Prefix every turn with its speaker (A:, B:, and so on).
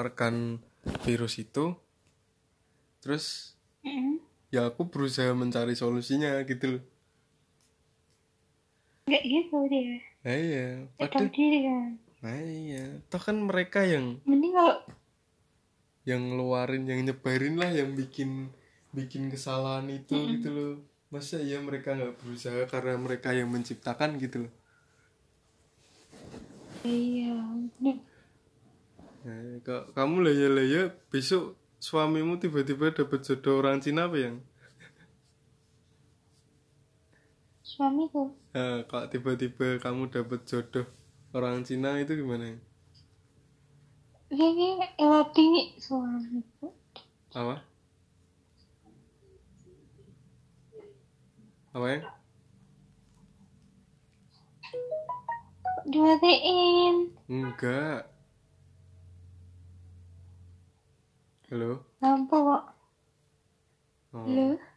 A: terpaparkan virus itu terus
B: Mm.
A: ya aku berusaha mencari solusinya gitu loh
B: nggak gitu dia
A: nah iya
B: nggak tahu
A: padahal
B: diri kan
A: nah iya toh kan mereka yang
B: mending kalau
A: yang ngeluarin yang nyebarin lah yang bikin bikin kesalahan itu
B: Mm-mm.
A: gitu loh masa ya mereka nggak berusaha karena mereka yang menciptakan gitu loh
B: iya mending-
A: Nah, kok kamu laya-laya besok suamimu tiba-tiba dapet jodoh orang Cina apa yang?
B: suamiku
A: Eh, kalau tiba-tiba kamu dapet jodoh orang Cina itu gimana?
B: kayaknya elati suamiku
A: Apa? Apa ya? yang?
B: Kok dimatiin
A: Enggak. Halo?
B: lampu kok
A: Oh.
B: lu